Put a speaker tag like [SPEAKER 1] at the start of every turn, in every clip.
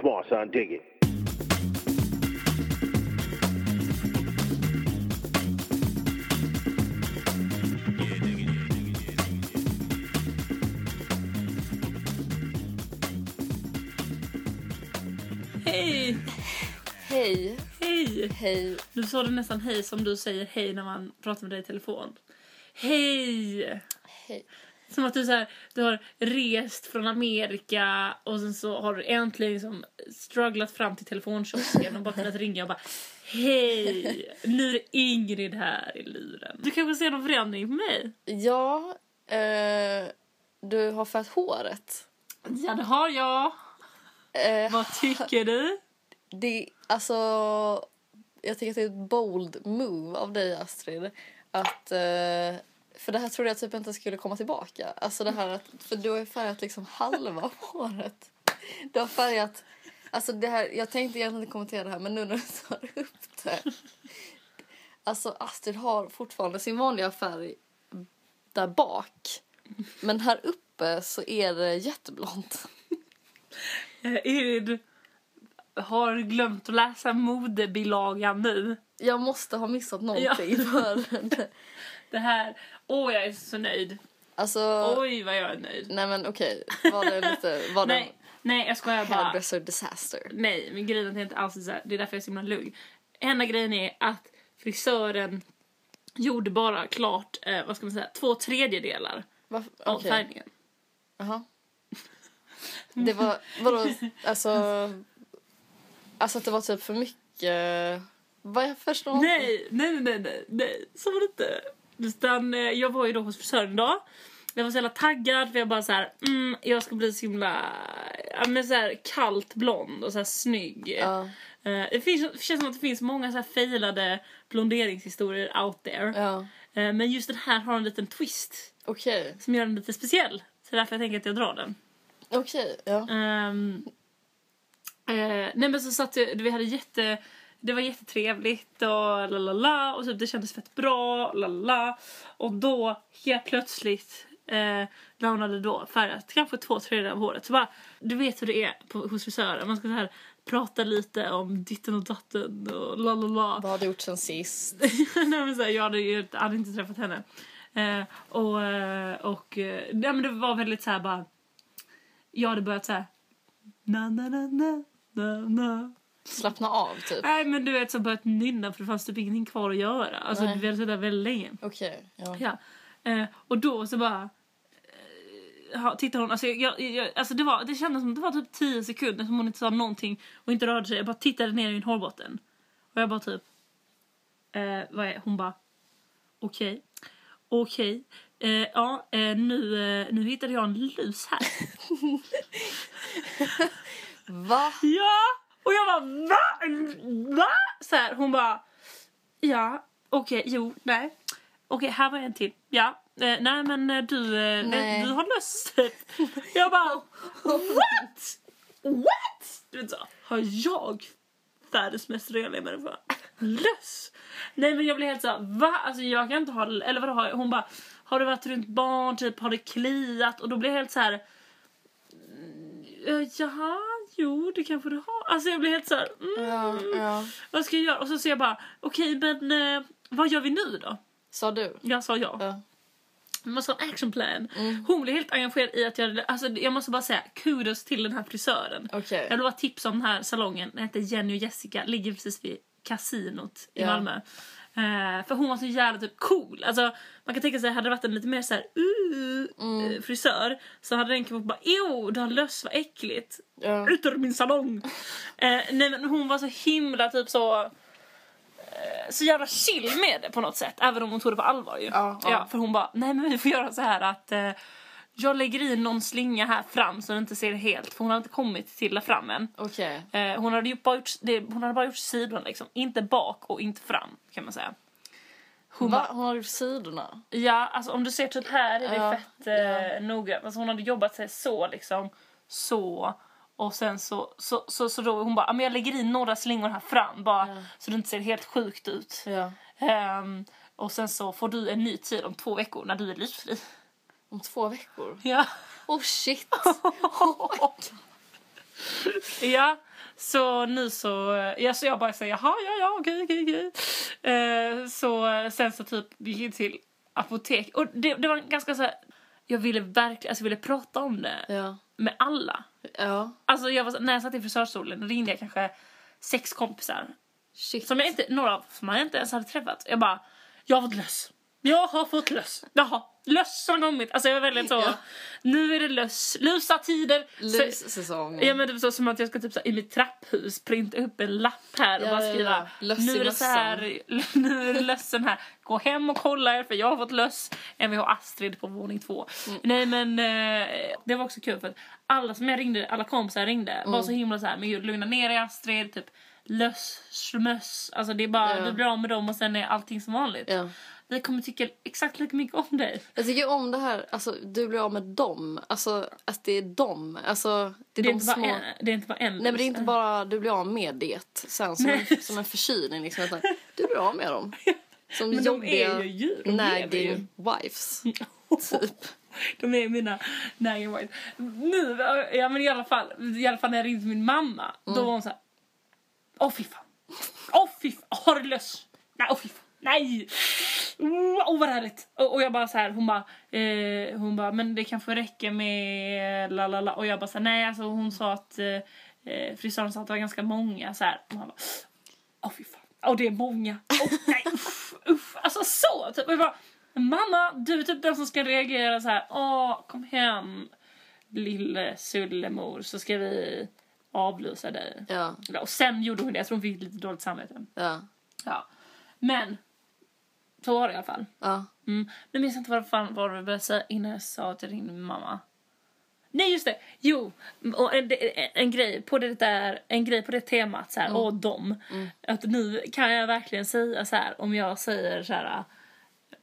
[SPEAKER 1] Come on, son, dig it.
[SPEAKER 2] Hej!
[SPEAKER 3] Hej,
[SPEAKER 2] Hej!
[SPEAKER 3] hej.
[SPEAKER 2] Du sa det nästan hej som du säger hej när man pratar med dig i telefon. Hej!
[SPEAKER 3] Hej.
[SPEAKER 2] Som att du, så här, du har rest från Amerika och sen så har du äntligen liksom strugglat fram till telefonkiosken och bara kunnat ringa och bara Hej! Nu är det Ingrid här i luren. Du kanske ser någon förändring på mig?
[SPEAKER 3] Ja, eh, du har färgat håret.
[SPEAKER 2] Ja, det har jag.
[SPEAKER 3] Eh,
[SPEAKER 2] Vad tycker du?
[SPEAKER 3] det, alltså, jag tycker att det är ett bold move av dig, Astrid. Att, eh, för det här trodde jag typ inte skulle komma tillbaka. Alltså det här att, för du har ju färgat liksom halva av håret. Du har färgat... Alltså det här, jag tänkte egentligen inte kommentera det här, men nu när du tar upp det. Alltså Astrid har fortfarande sin vanliga färg där bak. Men här uppe så är det jätteblont.
[SPEAKER 2] Eh, Ingrid har glömt att läsa modebilagan nu.
[SPEAKER 3] Jag måste ha missat någonting. För det.
[SPEAKER 2] Det här... Åh, jag är så nöjd.
[SPEAKER 3] Alltså,
[SPEAKER 2] Oj, vad jag är nöjd.
[SPEAKER 3] nej men okej. Var det lite... Var det
[SPEAKER 2] Nej, nej jag skojar
[SPEAKER 3] en
[SPEAKER 2] bara.
[SPEAKER 3] hairdresser disaster?
[SPEAKER 2] Nej, men grejen är att jag inte alls är så här. Det är därför jag är så himla lugn. Enda grejen är att frisören gjorde bara klart, eh, vad ska man säga, två tredjedelar
[SPEAKER 3] Varför?
[SPEAKER 2] av
[SPEAKER 3] okej.
[SPEAKER 2] färgningen.
[SPEAKER 3] Jaha. Det var, vadå, alltså... Alltså att det var typ för mycket... Vad jag förstår inte.
[SPEAKER 2] Nej, nej, nej, nej, nej, så var det inte. Utan eh, jag var ju då hos frisören idag. Jag var så jävla taggad för jag bara så här, mm, jag ska bli så himla, ja men så här kallt blond och så här snygg.
[SPEAKER 3] Ja,
[SPEAKER 2] Eh, det, finns, det känns som att det finns många så här failade blonderingshistorier out there.
[SPEAKER 3] ja.
[SPEAKER 2] Eh, Men just den här har en liten twist
[SPEAKER 3] Okej,
[SPEAKER 2] som gör den lite speciell. Så därför jag tänker att jag drar den.
[SPEAKER 3] okej. ja.
[SPEAKER 2] Ehm, eh, nej men så satt jag, vi hade jätte, det var jättetrevligt och la la la och typ det kändes fett bra, la la la. Och då helt plötsligt eh, när hon hade då färgat kanske två tredjedelar av håret så bara, du vet hur det är på, hos frisören, man ska så här prata lite om ditten och datten och la la la.
[SPEAKER 3] Vad har du gjort sen sist?
[SPEAKER 2] nej, men så här, jag hade, ju, inte- hade inte träffat henne. Eh, och eh, och eh, nej, men det var väldigt så här bara... Jag hade börjat så här... Na, na, na, na, na, na.
[SPEAKER 3] Slappna av, typ.
[SPEAKER 2] Nej, men du vet, så börjat nynna för det fanns typ ingenting kvar att göra. Alltså,
[SPEAKER 3] Nej.
[SPEAKER 2] vi hade suttit där väldigt länge.
[SPEAKER 3] Okej, ja.
[SPEAKER 2] Ja. Eh, och då så bara... eh, ha- Tittar hon, alltså, jag, jag, alltså det, var, det kändes som att det var typ 10 sekunder som hon inte sa någonting och inte rörde sig. Jag bara tittade ner i min hårbotten. Och jag bara typ... Eh, vad är Hon bara... Okej. Okej. Eh, ja, eh, nu, eh, nu hittade jag en lus här.
[SPEAKER 3] Va?
[SPEAKER 2] Ja! Och jag bara va? Va? Så här, hon bara ja, okej, jo, nej. Okej, här var en till. Ja, eh, nej men eh, du, eh,
[SPEAKER 3] Nej.
[SPEAKER 2] du har löst Jag bara what? What? Du vet så, har jag världens mest rörliga människa? Löss? Nej men jag blev helt såhär, va? Alltså jag kan inte ha, eller vadå, har- hon bara har du varit runt barn typ, har det kliat? Och då blev jag helt så här. Uh, jaha, jo det kanske du har. Alltså jag blev helt så här. Mm,
[SPEAKER 3] Ja, ja.
[SPEAKER 2] Vad ska jag göra? Och så säger jag bara, okej men eh, vad gör vi nu då?
[SPEAKER 3] Sa du?
[SPEAKER 2] Jag sa ja.
[SPEAKER 3] Ja. Mm.
[SPEAKER 2] Man måste ha en actionplan. Hon blev helt engagerad i att jag, alltså jag måste bara säga kudos till den här frisören.
[SPEAKER 3] Okej.
[SPEAKER 2] Jag vill bara tipsa om den här salongen. Den heter Jenny och Jessica. Ligger precis vid kasinot i
[SPEAKER 3] Ja.
[SPEAKER 2] Malmö. Eh, för hon var så jävla typ cool. Alltså, man kan tänka sig hade det varit en lite mer så här, uh,
[SPEAKER 3] Mm.
[SPEAKER 2] eh, frisör så hade den kanske bara ew du har löss vad äckligt.
[SPEAKER 3] Ja.
[SPEAKER 2] Ut ur min salong. Eh, nej men hon var så himla typ så eh, så jävla chill med det på något sätt. Även om hon tog det på allvar ju.
[SPEAKER 3] Ja, ja.
[SPEAKER 2] för hon bara, nej men vi får göra så här att eh, jag lägger i någon slinga här fram så den inte ser helt. För hon har inte kommit till där fram än.
[SPEAKER 3] Okej.
[SPEAKER 2] Eh, hon, hade ju bara gjort, det, hon hade bara gjort sidorna liksom. Inte bak och inte fram kan man säga. Hon
[SPEAKER 3] Va?
[SPEAKER 2] bara,
[SPEAKER 3] Hon har gjort sidorna?
[SPEAKER 2] ja alltså om du ser typ här är det
[SPEAKER 3] Ja,
[SPEAKER 2] fett eh, noga. Alltså hon hade jobbat sig så liksom. Så. Och sen så, så, så, så då hon bara, "Ja, men jag lägger i några slingor här fram bara så det inte ser helt sjukt ut.
[SPEAKER 3] Ja.
[SPEAKER 2] Ehm, och sen så får du en ny tid om två veckor när du är lysfri.
[SPEAKER 3] Om två Oh, veckor?
[SPEAKER 2] Ja.
[SPEAKER 3] Oh shit!
[SPEAKER 2] ja. Så nu så, ja, så jag bara säger jaha, ja, ja, okej, okej, okej. Eh, så sen så typ gick jag till apotek. Och det, det var en ganska så här, jag ville verkligen, alltså jag ville prata om det
[SPEAKER 3] Ja.
[SPEAKER 2] med alla.
[SPEAKER 3] Ja.
[SPEAKER 2] Alltså jag var, så- när jag satt i frisörstolen ringde jag kanske sex kompisar.
[SPEAKER 3] Shit.
[SPEAKER 2] Som jag inte, några av som jag inte ens hade träffat. Jag bara, jag har fått löss. Jag har fått löss. Jaha, löss har kommit. Alltså jag var väldigt så,
[SPEAKER 3] Ja.
[SPEAKER 2] nu är det löss. Lusa tider. Så-
[SPEAKER 3] Lussäsong.
[SPEAKER 2] Ja men det så som att jag ska typ så här, i mitt trapphus printa upp en lapp här och
[SPEAKER 3] Ja,
[SPEAKER 2] bara
[SPEAKER 3] ja,
[SPEAKER 2] skriva
[SPEAKER 3] ja. Löss i
[SPEAKER 2] nu är det så här, nu är det lössen här. Gå hem och kolla er för jag har fått löss. Mvh Astrid på våning två.
[SPEAKER 3] Mm.
[SPEAKER 2] Nej men eh, det var också kul för att alla som jag ringde, alla kompisar jag ringde var
[SPEAKER 3] Mm.
[SPEAKER 2] så himla så här men gud lugna ner dig Astrid typ löss, smöss. Alltså det är bara
[SPEAKER 3] Ja.
[SPEAKER 2] du blir av med dem och sen är allting som vanligt.
[SPEAKER 3] Ja.
[SPEAKER 2] Vi kommer tycka exakt lika mycket om dig.
[SPEAKER 3] Jag tycker om det här, alltså du blir av med dem. Alltså att det är dem. Alltså det
[SPEAKER 2] Det är,
[SPEAKER 3] är, de
[SPEAKER 2] inte bara
[SPEAKER 3] små.
[SPEAKER 2] en, det är inte bara en.
[SPEAKER 3] Nej men det är inte bara du blir av med det sen som, en, som en förkylning liksom. Utan du blir av med dem. Som
[SPEAKER 2] Men de är
[SPEAKER 3] jobbiga
[SPEAKER 2] ju djur, de lever ju.
[SPEAKER 3] nagging wives. Typ.
[SPEAKER 2] De är mina nagging white. Nu, ja men i alla fall, i alla fall när jag ringde min mamma, då var hon så här. Åh fy fan. Åh fy fan. Har du löss? Nej, åh fy fan. Nej! Åh oh, vad härligt! Och, och jag bara så här, hon bara, eh, hon bara, men det kanske räcker med la la la. Och jag bara så här, nej alltså hon sa att eh, eh, frisören sa att det var ganska många så här. Och han bara, åh fy fan. Åh det är många. Åh nej uff, uff. Alltså så typ. Och jag bara, mamma du är typ den som ska reagera så här. Åh kom hem lille sullemor så ska vi avlysa dig.
[SPEAKER 3] Ja.
[SPEAKER 2] Ja, Och sen gjorde hon det. Jag tror hon fick lite dåligt samvete.
[SPEAKER 3] Ja.
[SPEAKER 2] Ja. Men. Så var det i alla fall.
[SPEAKER 3] Ja.
[SPEAKER 2] Mm. Nu minns jag inte vad fan var det vi började säga innan jag sa att jag ringde min mamma. Nej just det! Jo! Och en, en, en, grej, på det där, en grej på det temat så här, åh dem. Att nu kan jag verkligen säga så här om jag säger så här. äh,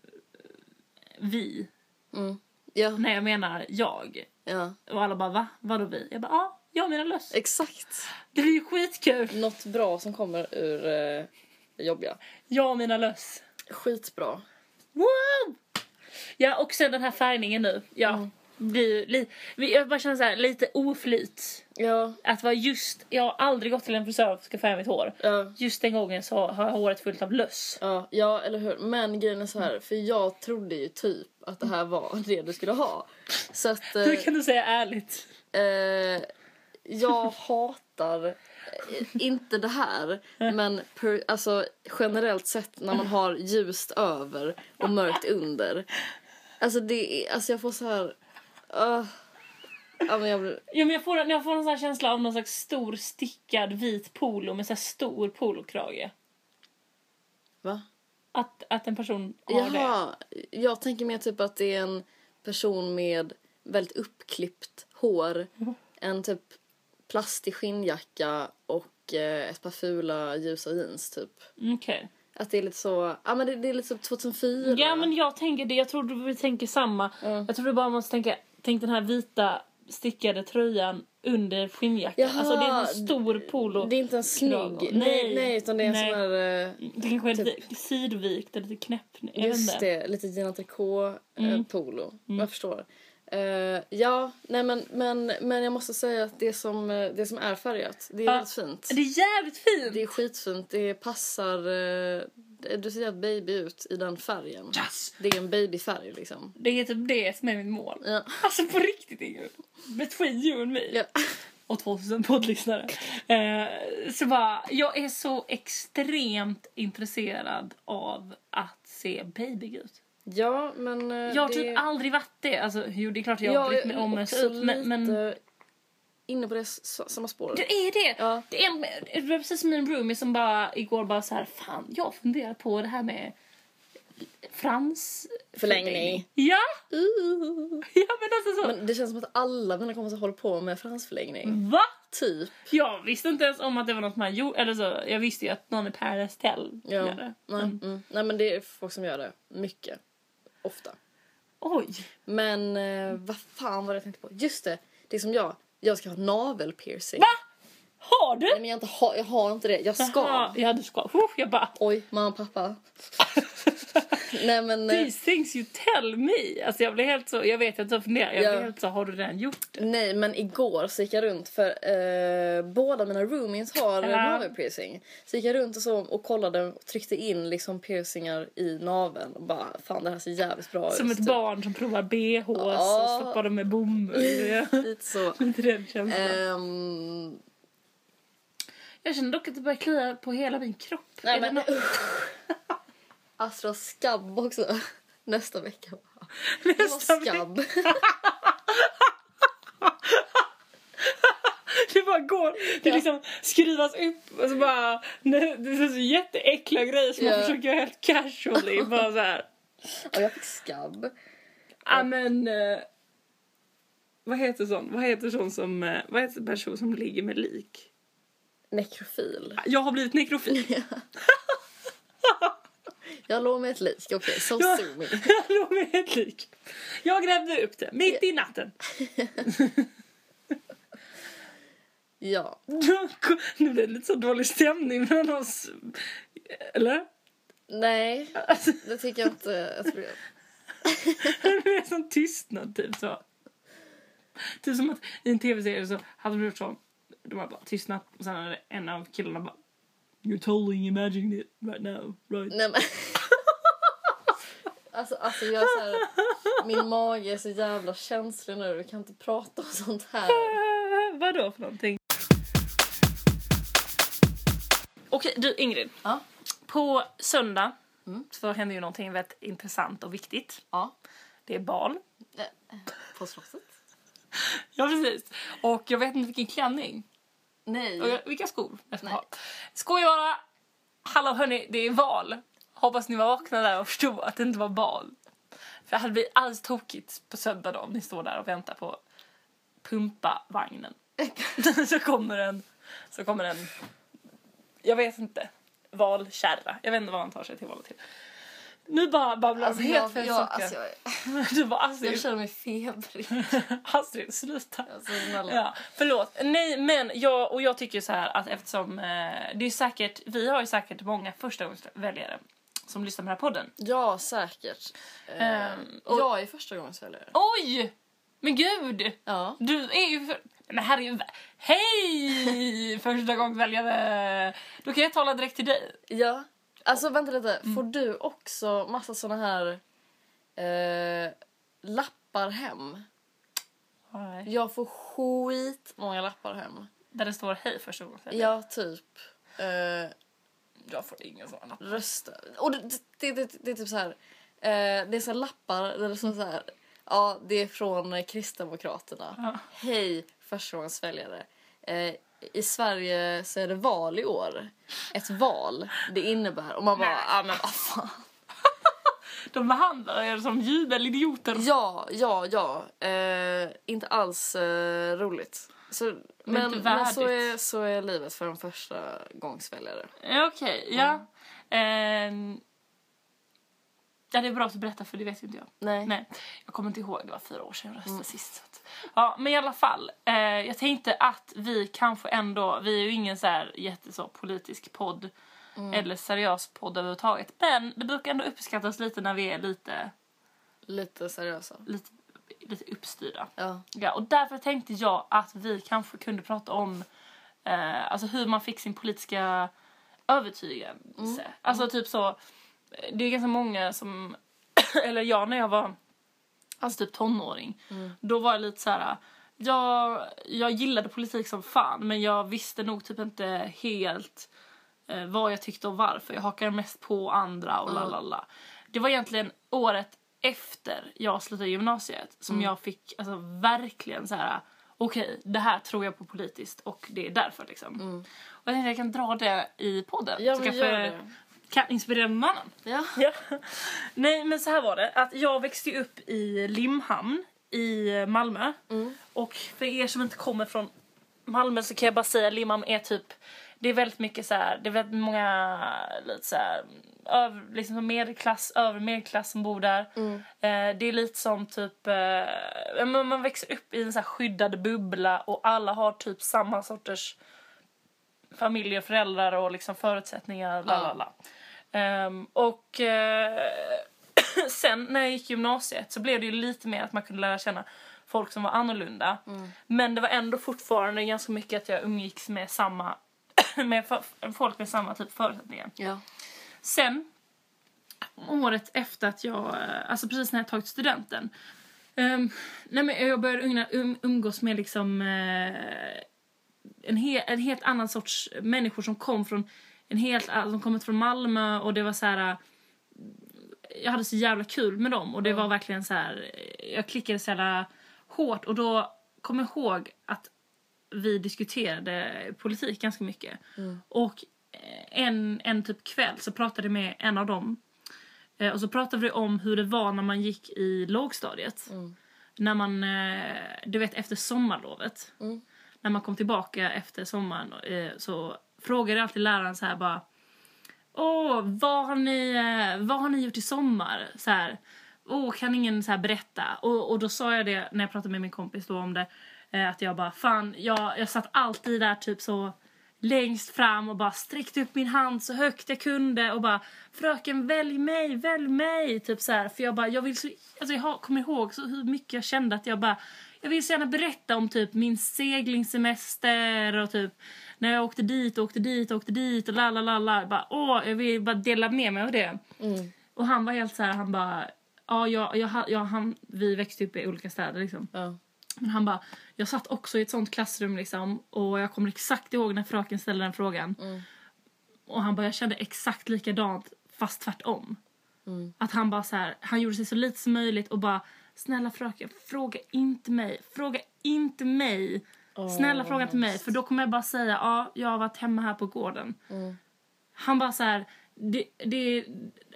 [SPEAKER 2] Vi.
[SPEAKER 3] Mm. Ja.
[SPEAKER 2] När jag menar jag.
[SPEAKER 3] Ja.
[SPEAKER 2] Och alla bara va? Vadå vi? Jag bara ja, jag menar löss.
[SPEAKER 3] Exakt.
[SPEAKER 2] Det blir ju skitkul!
[SPEAKER 3] Något bra som kommer ur eh, jobbiga.
[SPEAKER 2] Jag menar löss.
[SPEAKER 3] Skitbra.
[SPEAKER 2] Wow! Ja, och sen den här färgningen nu. Ja. Blir ju li- vi- jag bara känner så här, lite oflyt.
[SPEAKER 3] Ja.
[SPEAKER 2] Att vara just, jag har aldrig gått till en frisör för att ska färga mitt hår.
[SPEAKER 3] Ja.
[SPEAKER 2] Just den gången så har jag håret fullt av löss.
[SPEAKER 3] Ja, ja, eller hur. Men grejen är så här, för jag trodde ju typ att det här var det du skulle ha. Så att eh,
[SPEAKER 2] Hur kan du säga ärligt?
[SPEAKER 3] eh, jag hatar eh, inte det här, men per, alltså, generellt sett när man har ljust över och mörkt under. Alltså, det är, alltså jag får så här... öh. ja, men jag blir,
[SPEAKER 2] Ja, men jag får, en- jag får en sån här känsla av någon slags stor stickad vit polo med så här stor polokrage.
[SPEAKER 3] va?
[SPEAKER 2] Att, att en person har det.
[SPEAKER 3] Jaha, jag tänker mer typ att det är en person med väldigt uppklippt hår,
[SPEAKER 2] Mm.
[SPEAKER 3] en typ plastig skinnjacka och eh, ett par fula ljusa jeans typ.
[SPEAKER 2] Mm, Okej.
[SPEAKER 3] Att det är lite så, ja men det, det är lite typ så 2004.
[SPEAKER 2] Ja men jag tänker det, jag tror du- vi tänker samma.
[SPEAKER 3] Ja.
[SPEAKER 2] Jag tror du bara måste tänka, tänk den här vita stickade tröjan under skinnjackan.
[SPEAKER 3] Jaha,
[SPEAKER 2] Alltså det är en stor polo.
[SPEAKER 3] Det är inte en snygg,
[SPEAKER 2] Kragen.
[SPEAKER 3] nej,
[SPEAKER 2] Nej.
[SPEAKER 3] nej, utan det är en
[SPEAKER 2] Nej.
[SPEAKER 3] sån här, eh,
[SPEAKER 2] Det kanske är lite sidvikt eller lite knäpp. jag vet
[SPEAKER 3] just
[SPEAKER 2] inte. Mm.
[SPEAKER 3] det, lite Gina Tricot eh, polo. Jag förstår. Eh, ja, nej men, men, men jag måste säga att det som, eh, det som är färgat, det är
[SPEAKER 2] Ja.
[SPEAKER 3] väldigt fint.
[SPEAKER 2] Det är jävligt fint!
[SPEAKER 3] Det är skitfint. Det passar... eh, Du ser helt baby ut i den färgen.
[SPEAKER 2] Yes!
[SPEAKER 3] Det är en babyfärg, liksom.
[SPEAKER 2] Det är typ det som är mitt mål.
[SPEAKER 3] Ja.
[SPEAKER 2] Alltså på riktigt Ingrid. Between you and me.
[SPEAKER 3] Ja.
[SPEAKER 2] Och 2000 poddlyssnare. Eh, så bara, jag är så extremt intresserad av att se baby ut.
[SPEAKER 3] ja, men... eh,
[SPEAKER 2] Jag har
[SPEAKER 3] det...
[SPEAKER 2] typ aldrig varit det. Alltså, jo, det är klart jag har
[SPEAKER 3] Jag
[SPEAKER 2] brytt mig
[SPEAKER 3] är
[SPEAKER 2] om ens
[SPEAKER 3] också
[SPEAKER 2] ut, men, men
[SPEAKER 3] lite inne på det s- samma spår.
[SPEAKER 2] det är det.
[SPEAKER 3] Ja.
[SPEAKER 2] Det, är, en- det var precis som min roomie som bara igår bara så här, fan, jag funderar på det här med frans...
[SPEAKER 3] Förlängning.
[SPEAKER 2] Ja,
[SPEAKER 3] Uh.
[SPEAKER 2] ja men alltså så.
[SPEAKER 3] Men det känns som att alla mina kompisar håller på med fransförlängning.
[SPEAKER 2] Va?
[SPEAKER 3] Typ.
[SPEAKER 2] Jag visste inte ens om att det var något man gjorde. Eller så, jag visste ju att någon i Paradise Tell
[SPEAKER 3] Ja.
[SPEAKER 2] gör det.
[SPEAKER 3] Nej. Mm. Nej, men det är folk som gör det. Mycket. Ofta.
[SPEAKER 2] Oj!
[SPEAKER 3] Men eh, vad fan var det jag tänkte på? Just det, det är som jag. Jag ska ha navelpiercing.
[SPEAKER 2] Va? Har du?
[SPEAKER 3] Nej, men jag, inte har, jag har inte det. Jag ska.
[SPEAKER 2] Jaha, Ja, du ska. Uff, jag bara...
[SPEAKER 3] Oj, mamma och pappa. Nej men... eh,
[SPEAKER 2] These things you tell me. Alltså jag blir helt så, jag vet att jag funderar. Jag
[SPEAKER 3] Ja.
[SPEAKER 2] blir helt så, har du redan gjort det?
[SPEAKER 3] Nej, men igår så gick jag runt för eh, båda mina roomies har
[SPEAKER 2] Ja.
[SPEAKER 3] navelpiercing. piercing. Så gick jag runt och, så, och kollade och tryckte in liksom piercingar i naveln och bara fan det här ser jävligt bra ut.
[SPEAKER 2] Som ett
[SPEAKER 3] typ.
[SPEAKER 2] barn som provar bh och
[SPEAKER 3] Ja.
[SPEAKER 2] stoppar dem med bomull. Ja,
[SPEAKER 3] Lite Typ. så.
[SPEAKER 2] Lite den
[SPEAKER 3] Eh.
[SPEAKER 2] känslan.
[SPEAKER 3] Ehm,
[SPEAKER 2] Jag känner dock att det börjar klia på hela min kropp.
[SPEAKER 3] nej
[SPEAKER 2] Är det
[SPEAKER 3] men
[SPEAKER 2] något-
[SPEAKER 3] usch. Astra skabb också. Nästa vecka.
[SPEAKER 2] Nästa
[SPEAKER 3] Jag har skabb.
[SPEAKER 2] Det bara går. Det
[SPEAKER 3] Ja.
[SPEAKER 2] liksom skruvas upp och så bara... nej, Det är så jätteäckliga grejer som
[SPEAKER 3] Ja.
[SPEAKER 2] man försöker göra helt casually. bara så här.
[SPEAKER 3] Och jag fick skabb.
[SPEAKER 2] Ja men... eh, Vad heter sån? Vad heter sån som... eh, Vad heter person som ligger med lik?
[SPEAKER 3] Nekrofil.
[SPEAKER 2] Jag har blivit nekrofil.
[SPEAKER 3] Jag låg med ett lik. Okej, so
[SPEAKER 2] Ja.
[SPEAKER 3] sue me.
[SPEAKER 2] Jag låg med ett lik. Jag grävde upp det mitt i natten.
[SPEAKER 3] Ja.
[SPEAKER 2] Nu blev det lite så dålig stämning mellan oss. Eller?
[SPEAKER 3] Nej,
[SPEAKER 2] Alltså,
[SPEAKER 3] det tycker jag inte att vi
[SPEAKER 2] det blev en sån tystnad typ så. Typ som att i en tv-serie så hade de gjort så. De hade bara tystnat och sen hade en av killarna bara You're totally imagining it right now, right?
[SPEAKER 3] Nej men. Alltså, alltså jag är så här, min mage är så jävla känslig nu. Vi kan inte prata om sånt här.
[SPEAKER 2] Äh, vadå för någonting? Okej, du Ingrid.
[SPEAKER 3] Ja.
[SPEAKER 2] På söndag
[SPEAKER 3] Mm.
[SPEAKER 2] så händer ju någonting väldigt intressant och viktigt.
[SPEAKER 3] Ja. Eh,
[SPEAKER 2] Det är bal.
[SPEAKER 3] På slottet?
[SPEAKER 2] Ja, precis. Och jag vet inte vilken klänning
[SPEAKER 3] Nej.
[SPEAKER 2] och jag, vilka skor jag ska
[SPEAKER 3] Nej.
[SPEAKER 2] ha. Skoj bara! Hallå hörni, det är val. Hoppas ni var vakna där och förstod att det inte var bal. För det hade blivit alldeles tokigt på söndag då om ni står där och väntar på pumpavagnen. så kommer en, så kommer en, jag vet inte, valkärra. Jag vet inte vad han tar sig till valet till. Nu bara babblar
[SPEAKER 3] Alltså,
[SPEAKER 2] alltså, helt
[SPEAKER 3] jag,
[SPEAKER 2] fel
[SPEAKER 3] jag,
[SPEAKER 2] saker.
[SPEAKER 3] alltså, jag,
[SPEAKER 2] Du bara
[SPEAKER 3] jag
[SPEAKER 2] Astrid,
[SPEAKER 3] känner mig febrig.
[SPEAKER 2] Astrid sluta.
[SPEAKER 3] Alltså, snälla.
[SPEAKER 2] Ja, förlåt. Nej, men jag, och jag tycker ju så här att eftersom eh, det är säkert, vi har ju säkert många förstagångsväljare som lyssnar på den här podden.
[SPEAKER 3] ja, säkert. Eh,
[SPEAKER 2] Ehm, och-
[SPEAKER 3] jag är första gången väljare.
[SPEAKER 2] Oj! Men gud!
[SPEAKER 3] Ja.
[SPEAKER 2] Du är ju... För... Men herregud. Hej! Förstagångsväljare! Då kan jag tala direkt till dig.
[SPEAKER 3] ja. Alltså vänta lite. Får
[SPEAKER 2] Mm.
[SPEAKER 3] du också massa såna här eh, lappar hem? Jag får skit många lappar hem.
[SPEAKER 2] Där det står hej förstagångsväljare.
[SPEAKER 3] Ja, typ. Eh,
[SPEAKER 2] Jag får ingen sån.
[SPEAKER 3] rösta. Och det, det, det, det är typ så här. Eh, det är så här lappar där det står så här. Ja, det är från eh, Kristdemokraterna.
[SPEAKER 2] Ja.
[SPEAKER 3] Hej förstagångsväljare. Eh, I Sverige så är det val i år. Ett val, det innebär. Och man bara,
[SPEAKER 2] Nej.
[SPEAKER 3] ja men vad fan.
[SPEAKER 2] De behandlar er som jubelidioter.
[SPEAKER 3] Ja, ja, ja. Eh, inte alls eh, roligt. Så, men
[SPEAKER 2] inte
[SPEAKER 3] men så,
[SPEAKER 2] värdigt.
[SPEAKER 3] är, så är livet för en första gångsväljare.
[SPEAKER 2] Ja, Okej,
[SPEAKER 3] Mm.
[SPEAKER 2] ja. Ehm. Ja, det är bra att du berättar för det vet ju inte jag.
[SPEAKER 3] Nej.
[SPEAKER 2] Nej, jag kommer inte ihåg. Det var fyra år sedan jag röstade sist. Så att. Ja, men i alla fall. Eh, jag tänkte att vi kanske ändå, vi är ju ingen så här jätte så politisk podd eller seriös podd överhuvudtaget. Men det brukar ändå uppskattas lite när vi är lite,
[SPEAKER 3] Lite seriösa.
[SPEAKER 2] lite, lite uppstyrda.
[SPEAKER 3] Ja.
[SPEAKER 2] Ja, och därför tänkte jag att vi kanske kunde prata om eh, alltså hur man fick sin politiska övertygelse. Alltså typ så, eh, det är ganska många som, eller jag när jag var alltså typ tonåring,
[SPEAKER 3] Mm.
[SPEAKER 2] då var jag lite så här. Jag, jag gillade politik som fan men jag visste nog typ inte helt eh, vad jag tyckte och varför. Jag hakade mest på andra och la la la. Det var egentligen året efter jag slutade gymnasiet som
[SPEAKER 3] Mm.
[SPEAKER 2] jag fick alltså, verkligen så här. okej det här tror jag på politiskt och det är därför liksom. Och jag tänkte jag kan dra det i podden
[SPEAKER 3] Mm. Ja,
[SPEAKER 2] så
[SPEAKER 3] men
[SPEAKER 2] kanske
[SPEAKER 3] gör det.
[SPEAKER 2] kan inspirera någon annan.
[SPEAKER 3] Ja.
[SPEAKER 2] Ja. Nej men så här var det, att jag växte ju upp i Limhamn i Malmö. Och för er som inte kommer från Malmö så kan jag bara säga att Limhamn är typ det är väldigt mycket så här, det är väldigt många lite så här, över, liksom medelklass, övre medelklass som bor där. Eh, det är lite som typ, eh, ja, men man växer upp i en så här skyddad bubbla och alla har typ samma sorters familj och föräldrar och liksom förutsättningar. La, la, la. Ehm, och eh, sen när jag gick i gymnasiet så blev det ju lite mer att man kunde lära känna folk som var annorlunda. Men det var ändå fortfarande ganska mycket att jag umgicks med samma med fa- folk med samma typ förutsättningar.
[SPEAKER 3] Ja.
[SPEAKER 2] Sen, året efter att jag, eh, alltså precis när jag tagit studenten. ehm, nej men jag började ungna- um, umgås med liksom eh, en, he, en helt annan sorts människor som kom från en helt, all- som kommit från Malmö och det var så här. eh, Jag hade så jävla kul med dem och det var verkligen så här. eh, Jag klickade så jävla hårt och då kom jag ihåg att vi diskuterade politik ganska mycket. Och eh, en, en typ kväll så pratade jag med en av dem. Eh, Och så pratade vi om hur det var när man gick i lågstadiet. När man, eh, du vet efter sommarlovet. När man kom tillbaka efter sommaren eh, så frågade alltid läraren så här bara Åh, vad har ni, eh, vad har ni gjort i sommar? Så här, Åh, kan ingen så här berätta? Och, och då sa jag det när jag pratade med min kompis då om det. eh, Att jag bara, fan, jag, jag satt alltid där typ så längst fram och bara sträckte upp min hand så högt jag kunde och bara fröken välj mig, välj mig. Typ så här, för jag bara, jag vill så, alltså jag har- kommer ihåg så hur mycket jag kände att jag bara jag vill så gärna berätta om typ min seglingssemester och typ när jag åkte dit och åkte dit och åkte dit och la la la la. Jag Bara, åh, jag vill bara dela med mig av det. Och han var helt så här, han bara, ja, jag, jag, jag, han, vi växte upp i olika städer liksom.
[SPEAKER 3] Ja.
[SPEAKER 2] Men han bara, jag satt också i ett sånt klassrum liksom och jag kommer exakt ihåg när fröken ställde den frågan. Och han bara, jag kände exakt likadant fast tvärtom. Att han bara så här, han gjorde sig så lite som möjligt och bara, snälla fröken, fråga inte mig, fråga inte mig. snälla fråga inte mig, för då kommer jag bara säga, ja, jag har varit hemma här på gården. Han bara så här, det, det,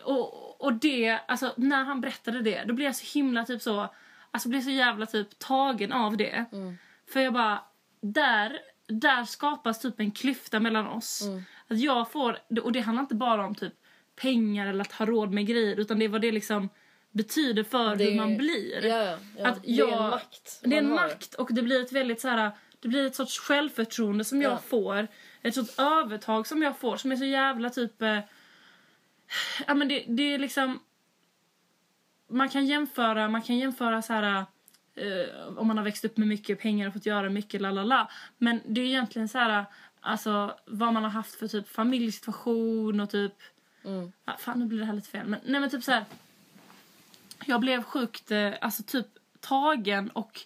[SPEAKER 2] och, och det, alltså när han berättade det, då blev jag så himla typ så, alltså blev så jävla typ tagen av det.
[SPEAKER 3] Mm.
[SPEAKER 2] För jag bara, där, där skapas typ en klyfta mellan oss.
[SPEAKER 3] Mm.
[SPEAKER 2] Att jag får, och det handlar inte bara om typ pengar eller att ha råd med grejer, utan det är vad det liksom betyder för
[SPEAKER 3] Det-
[SPEAKER 2] hur man blir.
[SPEAKER 3] Ja, ja, ja.
[SPEAKER 2] Att
[SPEAKER 3] Det är
[SPEAKER 2] jag,
[SPEAKER 3] en makt
[SPEAKER 2] Det är en
[SPEAKER 3] man har.
[SPEAKER 2] makt och det blir ett väldigt så här, det blir ett sorts självförtroende som jag
[SPEAKER 3] Ja.
[SPEAKER 2] får. Ett sorts övertag som jag får som är så jävla typ... Eh, ja men det, det är liksom... Man kan jämföra, man kan jämföra så här... Eh, om man har växt upp med mycket pengar och fått göra mycket la la la. Men det är egentligen så här... Alltså vad man har haft för typ familjesituation och typ...
[SPEAKER 3] Mm.
[SPEAKER 2] Ja, fan, nu blir det här lite fel. Men, nej, men typ så här. Jag blev sjukt eh, alltså typ tagen och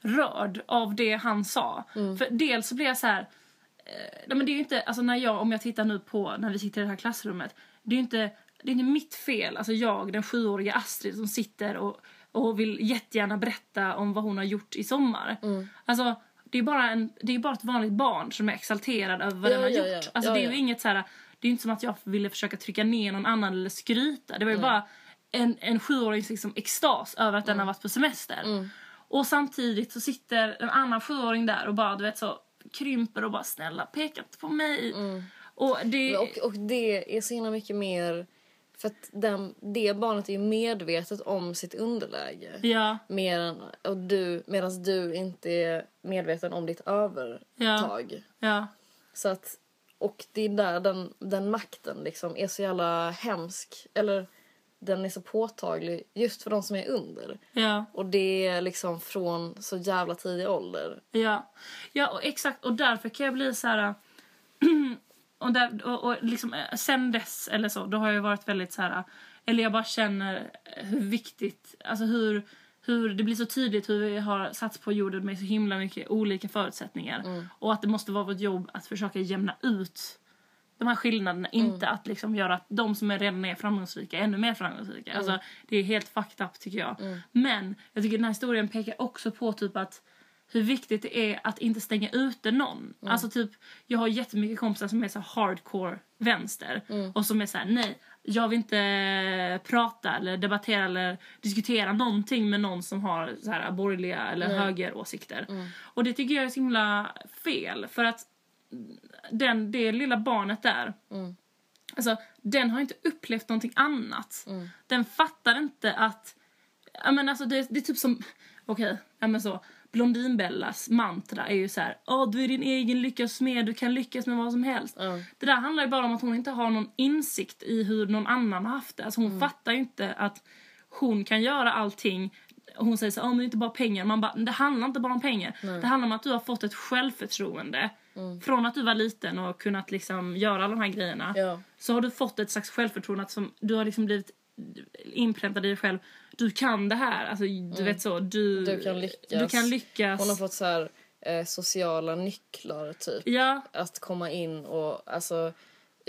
[SPEAKER 2] rörd av det han sa.
[SPEAKER 3] Mm.
[SPEAKER 2] För dels så blev jag så här... Eh, nej, men det är ju inte, alltså när jag, om jag tittar nu på när vi sitter i det här klassrummet. Det är ju inte, det är inte mitt fel, alltså jag, den sjuåriga Astrid som sitter och, och vill jättegärna berätta om vad hon har gjort i sommar.
[SPEAKER 3] Mm.
[SPEAKER 2] Alltså, det är, bara en, det är bara ett vanligt barn som är exalterad över vad
[SPEAKER 3] Ja,
[SPEAKER 2] den har
[SPEAKER 3] ja,
[SPEAKER 2] gjort.
[SPEAKER 3] ja.
[SPEAKER 2] Alltså,
[SPEAKER 3] Ja,
[SPEAKER 2] det är ju
[SPEAKER 3] ja.
[SPEAKER 2] inget så här, det är inte som att jag ville försöka trycka ner någon annan eller skryta. Det var ju bara en, en sjuårings liksom extas över att den
[SPEAKER 3] Mm.
[SPEAKER 2] har varit på semester. Och samtidigt så sitter en annan sjuåring där och bara du vet så krymper och bara snälla peka inte på mig. Och det...
[SPEAKER 3] Mm. Men Och, och det är så himla mycket mer... För att den, det barnet är ju medvetet om sitt underläge.
[SPEAKER 2] ja,
[SPEAKER 3] Mer än, och du, medan du inte är medveten om ditt övertag.
[SPEAKER 2] ja,
[SPEAKER 3] Så att, och det är där den, den makten liksom är så jävla hemsk. Eller den är så påtaglig just för de som är under.
[SPEAKER 2] ja.
[SPEAKER 3] Och det är liksom från så jävla tidig ålder.
[SPEAKER 2] Ja, ja och exakt. Och därför kan jag bli så här... och, där, och, och liksom, eh, sen dess, eller så, då har jag varit väldigt så här... Eller jag bara känner eh, hur viktigt... Alltså hur, hur Det blir så tydligt hur vi har satts på jorden med så himla mycket olika förutsättningar. Och att det måste vara vårt jobb att försöka jämna ut de här skillnaderna. Inte att liksom göra att de som är redan är framgångsrika ännu mer framgångsrika. Alltså, det är helt fucked up tycker jag. Men jag tycker den här historien pekar också på typ att hur viktigt det är att inte stänga ute någon. Alltså typ, jag har jättemycket kompisar som är så hardcore vänster och som är så här: nej, jag vill inte prata eller debattera eller diskutera någonting med någon som har så här borgerliga eller högeråsikter. Och det tycker jag är så himla fel för att den, det lilla barnet där Alltså, den har inte upplevt någonting annat. Den fattar inte att... Ja, men alltså, det, det är typ som... Okej, ja, men så. Blondinbellas mantra är ju så här... "Ja, du är din egen lyckas smed, du kan lyckas med vad som helst. Det där handlar ju bara om att hon inte har någon insikt i hur någon annan har haft det. Alltså, hon fattar ju inte att hon kan göra allting. Hon säger så här, "Ja, men det är inte bara pengar. Man bara, det handlar inte bara om pengar. Det handlar om att du har fått ett självförtroende. Från att du var liten och kunnat liksom göra alla de här grejerna
[SPEAKER 3] Ja.
[SPEAKER 2] så har du fått ett slags självförtroende att som du har liksom blivit inpräntad i dig själv. Du kan det här. Alltså, du vet så. Du,
[SPEAKER 3] Mm. Du kan lyckas.
[SPEAKER 2] Du kan lyckas.
[SPEAKER 3] Hon har fått så här, eh, sociala nycklar typ.
[SPEAKER 2] Alltså- Ja,
[SPEAKER 3] Att komma in och alltså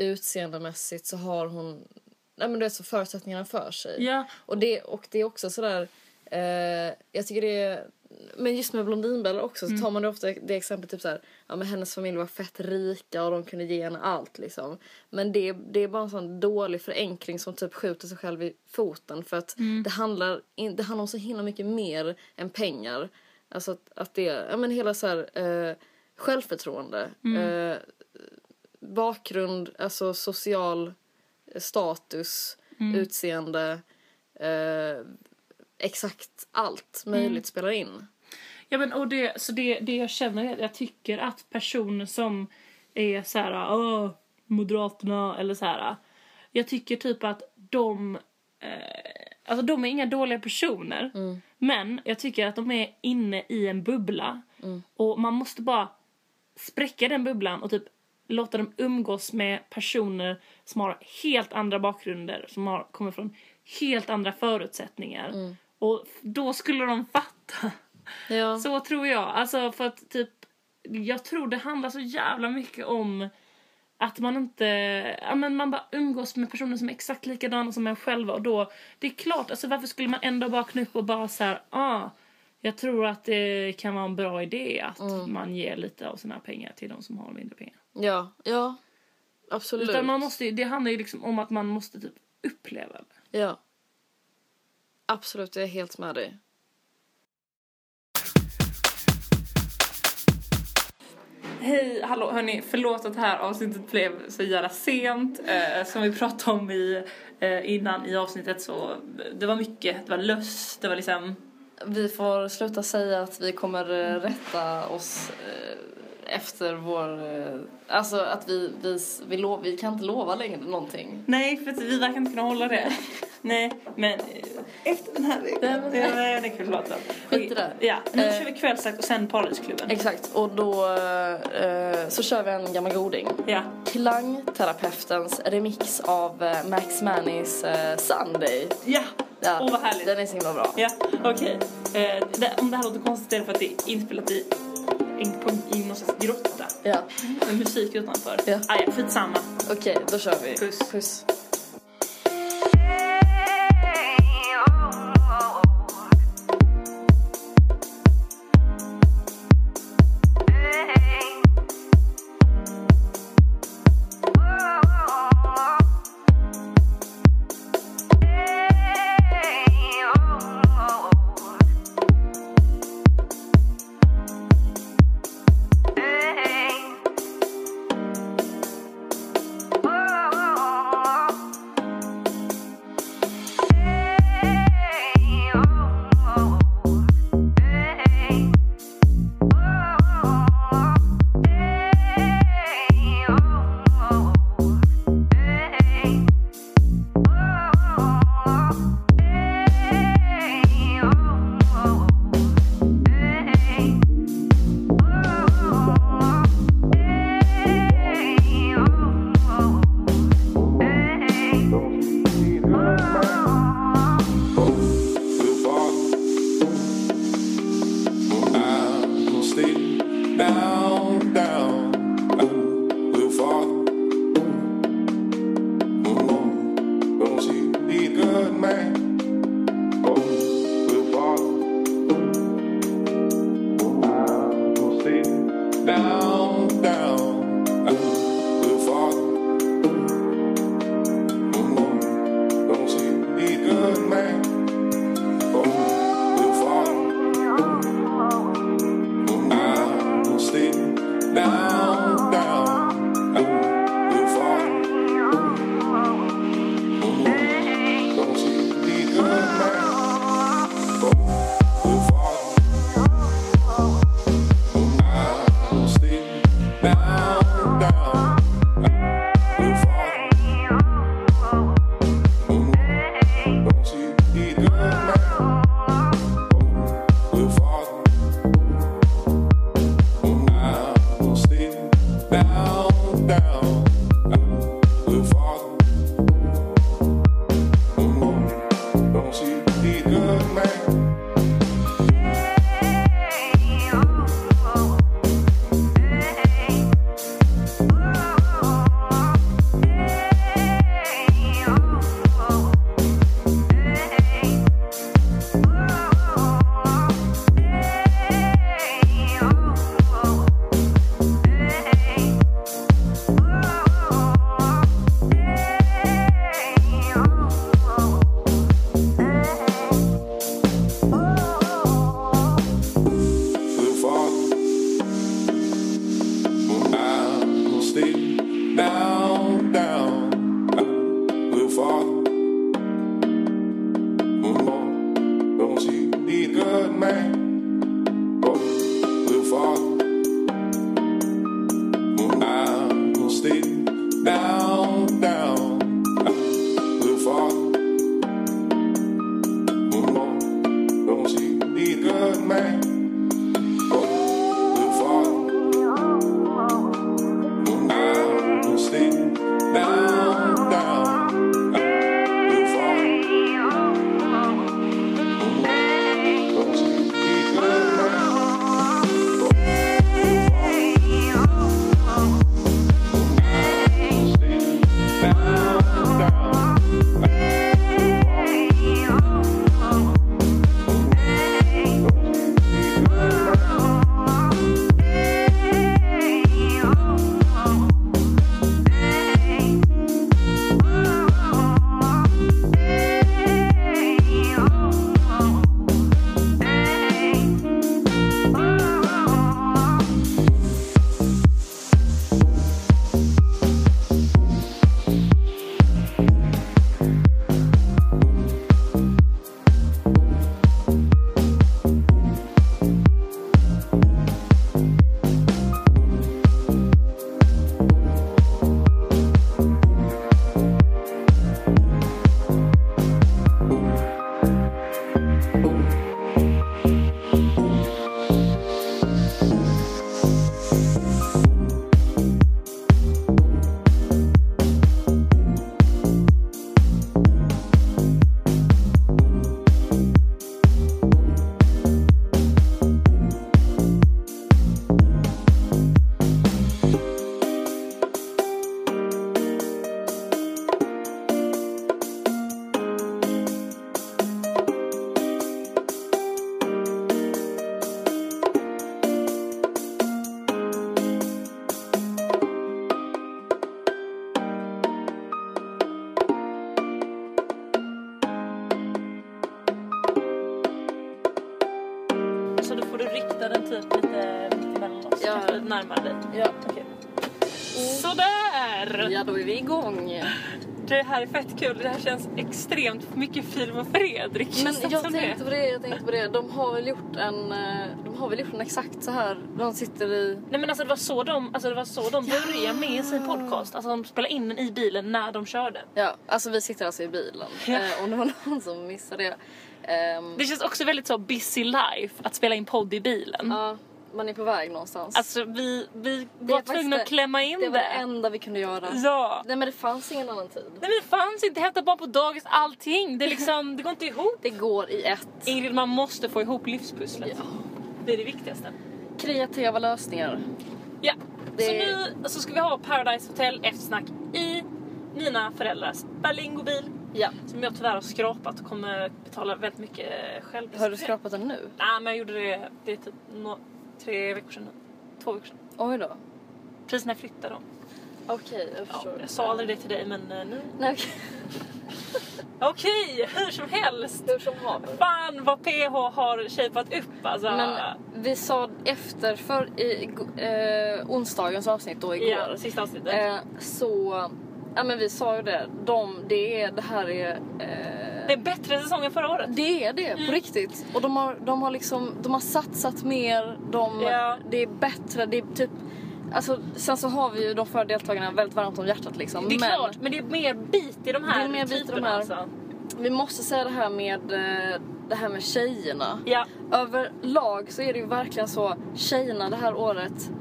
[SPEAKER 3] utseendemässigt så har hon nej, men du vet, så förutsättningarna för sig.
[SPEAKER 2] ja.
[SPEAKER 3] Och det, och det är också sådär... Eh, jag tycker det är... Men just med Blondinbella också så tar man det ofta det exemplet typ såhär, ja men hennes familj var fett rika och de kunde ge henne allt liksom. Men det, det är bara en sån dålig förenkling som typ skjuter sig själv i foten för att det, handlar in, det handlar om så himla mycket mer än pengar. Alltså att, att det, ja men hela såhär eh, självförtroende, eh, bakgrund, alltså social status, utseende, eh, exakt allt möjligt spelar in.
[SPEAKER 2] ja men, och det, så det, det jag känner är att jag tycker att personer som är så här, Åh, Moderaterna eller så här. Jag tycker typ att de, eh, alltså de är inga dåliga personer. Men jag tycker att de är inne i en bubbla. Och man måste bara spräcka den bubblan och typ låta dem umgås med personer som har helt andra bakgrunder, som har, kommer från helt andra förutsättningar. Och f- då skulle de fatta.
[SPEAKER 3] Ja.
[SPEAKER 2] Så tror jag. Alltså för att typ, jag tror det handlar så jävla mycket om att man inte, ja men man bara umgås med personer som är exakt likadana som en själva och då, det är klart, alltså varför skulle man ändå bara knuppa upp och bara så här, ah, jag tror att det kan vara en bra idé att man ger lite av sina pengar till de som har mindre pengar.
[SPEAKER 3] ja, ja, absolut.
[SPEAKER 2] Utan man måste, ju- det handlar ju liksom om att man måste typ uppleva det.
[SPEAKER 3] Ja. Absolut, jag är helt med dig.
[SPEAKER 2] Hej, hallå, hörni, förlåt att det här avsnittet blev så jävla sent. Eh, som vi pratade om i, eh, innan i avsnittet så eh, det var mycket, det var löss, det var liksom...
[SPEAKER 3] Vi får sluta säga att vi kommer eh, rätta oss eh, efter vår... eh, Alltså att vi, vi, vi, lo, vi kan inte lova längre någonting.
[SPEAKER 2] Nej, för att vi verkar inte kunna hålla det. Nej, men... eh, Efter den här
[SPEAKER 3] Nej,
[SPEAKER 2] veckan.
[SPEAKER 3] men-
[SPEAKER 2] Ja, nej, det kan vi låta.
[SPEAKER 3] Skit i det.
[SPEAKER 2] Ja, nu
[SPEAKER 3] Eh.
[SPEAKER 2] kör vi kvällsakt och sen Paradisklubben.
[SPEAKER 3] Exakt, och då eh, så kör vi en gammal goding.
[SPEAKER 2] Ja.
[SPEAKER 3] Klangterapeutens remix av eh, Max Mannys eh, Sunday.
[SPEAKER 2] Ja!
[SPEAKER 3] Ja,
[SPEAKER 2] Åh, vad härligt.
[SPEAKER 3] Den är så himla bra.
[SPEAKER 2] Ja, okej. Eh, det- om det här låter konstigt är det för att det är inspelat i, en- på- i någon slags grotta.
[SPEAKER 3] Ja,
[SPEAKER 2] Med musik utanför.
[SPEAKER 3] Mm. Ja.
[SPEAKER 2] Ah, ja, skitsamma.
[SPEAKER 3] okej, då kör vi.
[SPEAKER 2] Puss.
[SPEAKER 3] Puss.
[SPEAKER 1] Oh Oh, Oh, Oh, down, down, a little farther. Move on, don't you be a good man? Oh, little farther. Move on, don't stay down, down, a little farther. Move on, don't you be a good man? Oh, little farther.
[SPEAKER 2] Så då får du rikta den typ lite mittemellan oss.
[SPEAKER 3] Ja.
[SPEAKER 2] Kanske lite närmare dig.
[SPEAKER 3] Ja.
[SPEAKER 2] Okej. Sådär!
[SPEAKER 3] ja, då är vi igång.
[SPEAKER 2] Det här är fett kul. Det här känns extremt mycket film och Fredrik.
[SPEAKER 3] Men
[SPEAKER 2] känns det
[SPEAKER 3] jag
[SPEAKER 2] som
[SPEAKER 3] tänkte på det, jag tänkte på det. De har väl gjort en, eh, de har väl gjort en exakt så här. De sitter i...
[SPEAKER 2] Nej men alltså det var så de, alltså det var så de började med sin podcast. Alltså de spelade in den i bilen när de körde.
[SPEAKER 3] Ja, alltså vi sitter alltså i bilen.
[SPEAKER 2] Ja.
[SPEAKER 3] Eh, om det var någon som missade det. Ehm,
[SPEAKER 2] Det känns också väldigt så busy life att spela in podd i bilen.
[SPEAKER 3] ja, man är på väg någonstans.
[SPEAKER 2] Mm. Alltså vi, vi
[SPEAKER 3] Det
[SPEAKER 2] var
[SPEAKER 3] är faktiskt
[SPEAKER 2] tvungna att
[SPEAKER 3] det-
[SPEAKER 2] klämma in
[SPEAKER 3] det
[SPEAKER 2] det.
[SPEAKER 3] var det enda vi kunde göra.
[SPEAKER 2] Ja.
[SPEAKER 3] Nej men det fanns ingen annan tid.
[SPEAKER 2] Nej men det fanns inte, hämta barn på dagis, allting. Det, är liksom, det går inte ihop.
[SPEAKER 3] Det går i ett.
[SPEAKER 2] Ingrid man måste få ihop livspusslet.
[SPEAKER 3] Ja.
[SPEAKER 2] Det är det viktigaste.
[SPEAKER 3] Kreativa lösningar.
[SPEAKER 2] Ja.
[SPEAKER 3] Det-
[SPEAKER 2] Så nu så ska vi ha Paradise Hotel eftersnack i mina föräldrars Berlingobil.
[SPEAKER 3] Ja.
[SPEAKER 2] Som jag tyvärr har skrapat och kommer betala väldigt mycket själv.
[SPEAKER 3] Har du skrapat den nu?
[SPEAKER 2] Nej, men jag gjorde det, det är typ nå- tre veckor sedan nu. Två veckor sedan.
[SPEAKER 3] Oj då.
[SPEAKER 2] Precis när jag flyttade då.
[SPEAKER 3] Okej, jag
[SPEAKER 2] Ja,
[SPEAKER 3] förstår.
[SPEAKER 2] jag sa aldrig det till dig, men eh, nu...
[SPEAKER 3] Nej, okej.
[SPEAKER 2] Okej, hur som helst!
[SPEAKER 3] Hur som haver.
[SPEAKER 2] Fan vad PH har shapat upp alltså.
[SPEAKER 3] Men vi sa efter för i, eh, onsdagens avsnitt då igår.
[SPEAKER 2] ja, sista avsnittet.
[SPEAKER 3] Eh, så, ja men vi sa ju det. De, det, är, det här är... Eh,
[SPEAKER 2] det är bättre säsong än förra året.
[SPEAKER 3] det är det,
[SPEAKER 2] Mm.
[SPEAKER 3] på riktigt. Och de har, de har liksom, de har satsat mer, de,
[SPEAKER 2] Ja.
[SPEAKER 3] det är bättre, det är typ... Alltså, sen så har vi ju de förra deltagarna väldigt varmt om hjärtat liksom.
[SPEAKER 2] Det är
[SPEAKER 3] men
[SPEAKER 2] klart, men det är mer bit i de här
[SPEAKER 3] Det är mer bit i de
[SPEAKER 2] typerna
[SPEAKER 3] här.
[SPEAKER 2] alltså.
[SPEAKER 3] vi måste säga det här med, eh, det här med tjejerna.
[SPEAKER 2] Ja,
[SPEAKER 3] Överlag så är det ju verkligen så, tjejerna det här året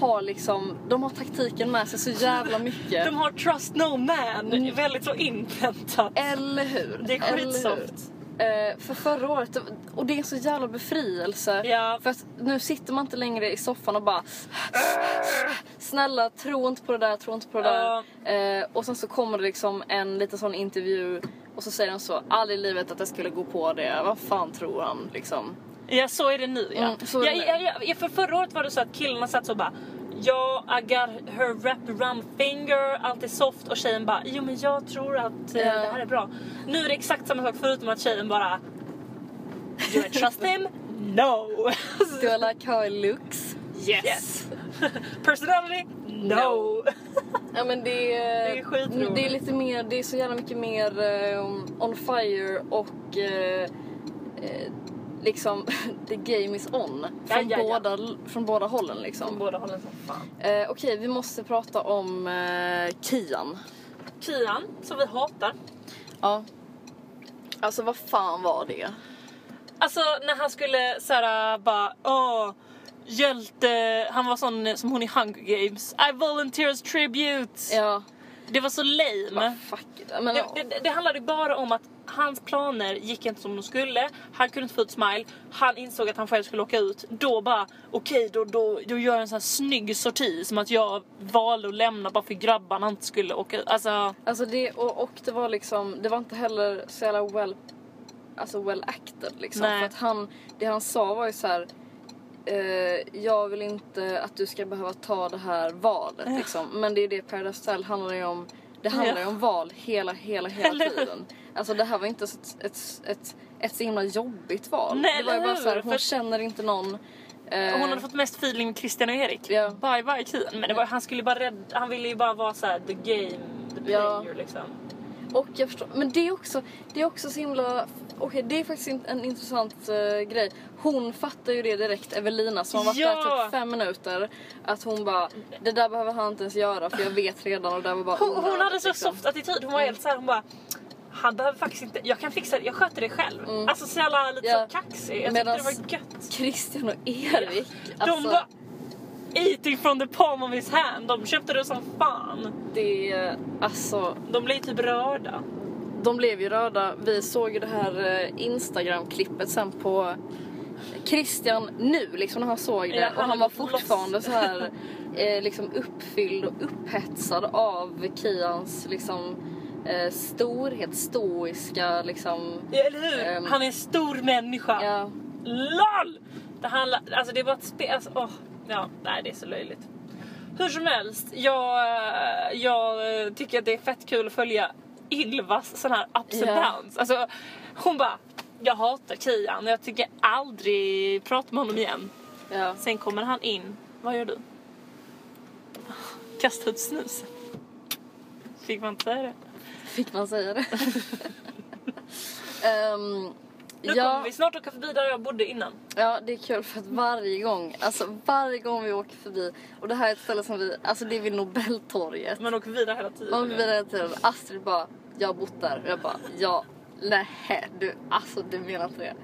[SPEAKER 3] har liksom, de har taktiken med sig så jävla mycket.
[SPEAKER 2] de har Trust No Man väldigt så inpräntat.
[SPEAKER 3] Eller hur?
[SPEAKER 2] Det är
[SPEAKER 3] Eller
[SPEAKER 2] skitsoft.
[SPEAKER 3] hur? Eh, för förra året, och det är en så jävla befrielse.
[SPEAKER 2] Ja.
[SPEAKER 3] För att nu sitter man inte längre i soffan och bara Snälla, tro inte på det där, tro inte på det
[SPEAKER 2] Ja.
[SPEAKER 3] där. Eh, och sen så kommer det liksom en liten sån intervju och så säger de så, aldrig i livet att jag skulle gå på det, vad fan tror han liksom?
[SPEAKER 2] Ja, så är det nu ja.
[SPEAKER 3] Mm, så är
[SPEAKER 2] ja,
[SPEAKER 3] det nu.
[SPEAKER 2] ja, ja, ja för förra året var det så att killarna satt så och bara Ja, I got her wrapped around finger, allt är soft och tjejen bara jo men jag tror att eh,
[SPEAKER 3] Ja.
[SPEAKER 2] det här är bra. Nu är det exakt samma sak förutom att tjejen bara Do I trust him? No!
[SPEAKER 3] Do I like how it looks?
[SPEAKER 2] yes! Personality? No!
[SPEAKER 3] Ja, men det, är,
[SPEAKER 2] Det är skitroligt.
[SPEAKER 3] Det är lite mer, det är så jävla mycket mer eh, on fire och eh, eh, liksom the game is on.
[SPEAKER 2] Ja,
[SPEAKER 3] Från,
[SPEAKER 2] ja, ja.
[SPEAKER 3] Båda, från båda hållen liksom.
[SPEAKER 2] Från båda hållen som fan.
[SPEAKER 3] Eh, Okej, vi måste prata om eh, Kian.
[SPEAKER 2] Kian, som vi hatar.
[SPEAKER 3] Ja. Alltså vad fan var det?
[SPEAKER 2] Alltså när han skulle såhär bara åh hjälte, han var sån eh, som hon i Hunger Games. I volunteer as tribute.
[SPEAKER 3] Ja,
[SPEAKER 2] Det var så
[SPEAKER 3] bara,
[SPEAKER 2] lame.
[SPEAKER 3] fuck it. Men,
[SPEAKER 2] Det,
[SPEAKER 3] ja.
[SPEAKER 2] det, det handlade ju bara om att hans planer gick inte som de skulle. Han kunde inte få ut smile. Han insåg att han själv skulle åka ut. Då bara okej då, då, då gör jag en sån här snygg sorti som att jag valde att lämna bara för grabbarna inte skulle åka ut. Alltså
[SPEAKER 3] Alltså det, och, och det var liksom, det var inte heller så jävla well, alltså well acted liksom.
[SPEAKER 2] Nej.
[SPEAKER 3] För att han, det han sa var ju så här. Eh, jag vill inte att du ska behöva ta det här valet liksom. Men det är det Paradise Hotel handlar ju om. Det handlar ju om val hela, hela, hela
[SPEAKER 2] Eller hur?
[SPEAKER 3] tiden. Alltså det här var inte så ett, ett, ett, ett så himla jobbigt val.
[SPEAKER 2] Nej,
[SPEAKER 3] det var ju
[SPEAKER 2] eller
[SPEAKER 3] bara så här,
[SPEAKER 2] hur?
[SPEAKER 3] hon
[SPEAKER 2] För-
[SPEAKER 3] känner inte någon. eh,
[SPEAKER 2] Och hon hade fått mest feeling med Christian och Erik.
[SPEAKER 3] Ja.
[SPEAKER 2] Bye bye Kian. Men det var, han, skulle ju bara rädda, han ville ju bara vara så här, the game, the
[SPEAKER 3] Ja.
[SPEAKER 2] player liksom.
[SPEAKER 3] Och jag förstår, men det är också, det är också så himla... Okej, det är faktiskt in- en intressant eh, grej. Hon fattar ju det direkt, Evelina, som har varit
[SPEAKER 2] Ja!
[SPEAKER 3] där typ fem minuter. Att hon bara, det där behöver han inte ens göra för jag vet redan och det där var bara
[SPEAKER 2] Hon, hon
[SPEAKER 3] onödigt,
[SPEAKER 2] hade så
[SPEAKER 3] liksom.
[SPEAKER 2] soft attityd. Hon var helt så här, hon bara han behöver faktiskt inte, jag kan fixa det, jag sköter det själv. Alltså så jävla lite
[SPEAKER 3] Mm. Ja.
[SPEAKER 2] så kaxig. Jag
[SPEAKER 3] Medans-
[SPEAKER 2] tyckte det var gött.
[SPEAKER 3] Christian och Erik, alltså
[SPEAKER 2] De var eating from the palm of his hand. De köpte det som fan.
[SPEAKER 3] det är... Alltså,
[SPEAKER 2] De blev ju typ rörda.
[SPEAKER 3] de blev ju röda. Vi såg ju det här eh, Instagram-klippet sen på Christian nu, liksom när han såg det.
[SPEAKER 2] Ja,
[SPEAKER 3] och
[SPEAKER 2] han
[SPEAKER 3] han var
[SPEAKER 2] hade gått
[SPEAKER 3] fortfarande
[SPEAKER 2] loss.
[SPEAKER 3] så här eh, liksom uppfylld och upphetsad av Kians liksom eh, storhet, stoiska liksom.
[SPEAKER 2] Ja, eller hur?
[SPEAKER 3] Ehm.
[SPEAKER 2] han är en stor människa.
[SPEAKER 3] Ja.
[SPEAKER 2] LOL! Det handlar, alltså det var ett spel, alltså, åh, ja, nej det är så löjligt. Hur som helst, jag, eh, jag eh, tycker att det är fett kul att följa Ylvas sån här ups and
[SPEAKER 3] Ja.
[SPEAKER 2] downs. Alltså, hon bara, jag hatar Kian och jag tycker aldrig prata med honom igen.
[SPEAKER 3] ja.
[SPEAKER 2] Sen kommer han in, vad gör du? Kasta ut snusen. Fick man inte säga det?
[SPEAKER 3] Fick man säga det? Ehm,
[SPEAKER 2] Nu kommer vi snart åka förbi där jag bodde innan.
[SPEAKER 3] Ja, det är kul för att varje gång, alltså varje gång vi åker förbi och det här är ett ställe som vi, alltså det är vid Nobeltorget.
[SPEAKER 2] Man åker vidare hela tiden.
[SPEAKER 3] Man blir vidare till typ, Astrid bara, jag har bott där. Och jag bara, ja, nej, du, alltså du menar inte det.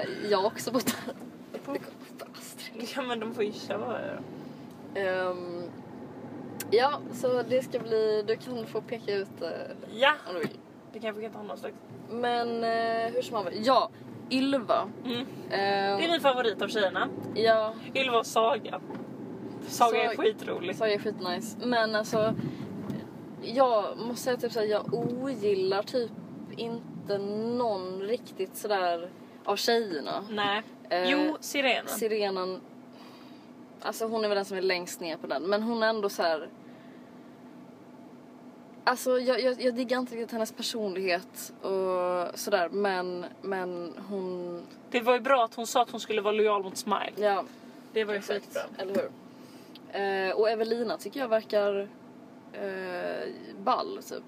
[SPEAKER 3] Eh, jag har också bott där. Det kom på Astrid.
[SPEAKER 2] Ja men de får ju köra.
[SPEAKER 3] Ehm, ja, så det ska bli, du kan få peka ut eh,
[SPEAKER 2] Ja!
[SPEAKER 3] om du vill.
[SPEAKER 2] Vi kanske kan ta någon slags.
[SPEAKER 3] Men eh, hur som helst, ja, Ylva.
[SPEAKER 2] Mm.
[SPEAKER 3] Ehm,
[SPEAKER 2] Det är min favorit av tjejerna.
[SPEAKER 3] ja,
[SPEAKER 2] Ylva och Saga. Saga är
[SPEAKER 3] Sag-
[SPEAKER 2] skitrolig.
[SPEAKER 3] så är skitnice. Men alltså, jag måste säga typ såhär, jag ogillar typ inte någon riktigt sådär av tjejerna.
[SPEAKER 2] Nej.
[SPEAKER 3] Eh,
[SPEAKER 2] Jo, Sirena.
[SPEAKER 3] Sirenen, alltså hon är väl den som är längst ner på den, men hon är ändå så här. Alltså jag, jag, jag diggar inte riktigt hennes personlighet och sådär men, men hon,
[SPEAKER 2] Det var ju bra att hon sa att hon skulle vara lojal mot Smile.
[SPEAKER 3] ja
[SPEAKER 2] Det var ju
[SPEAKER 3] exakt,
[SPEAKER 2] skitbra.
[SPEAKER 3] eller hur? Eh, och Evelina tycker jag verkar eh, ball typ.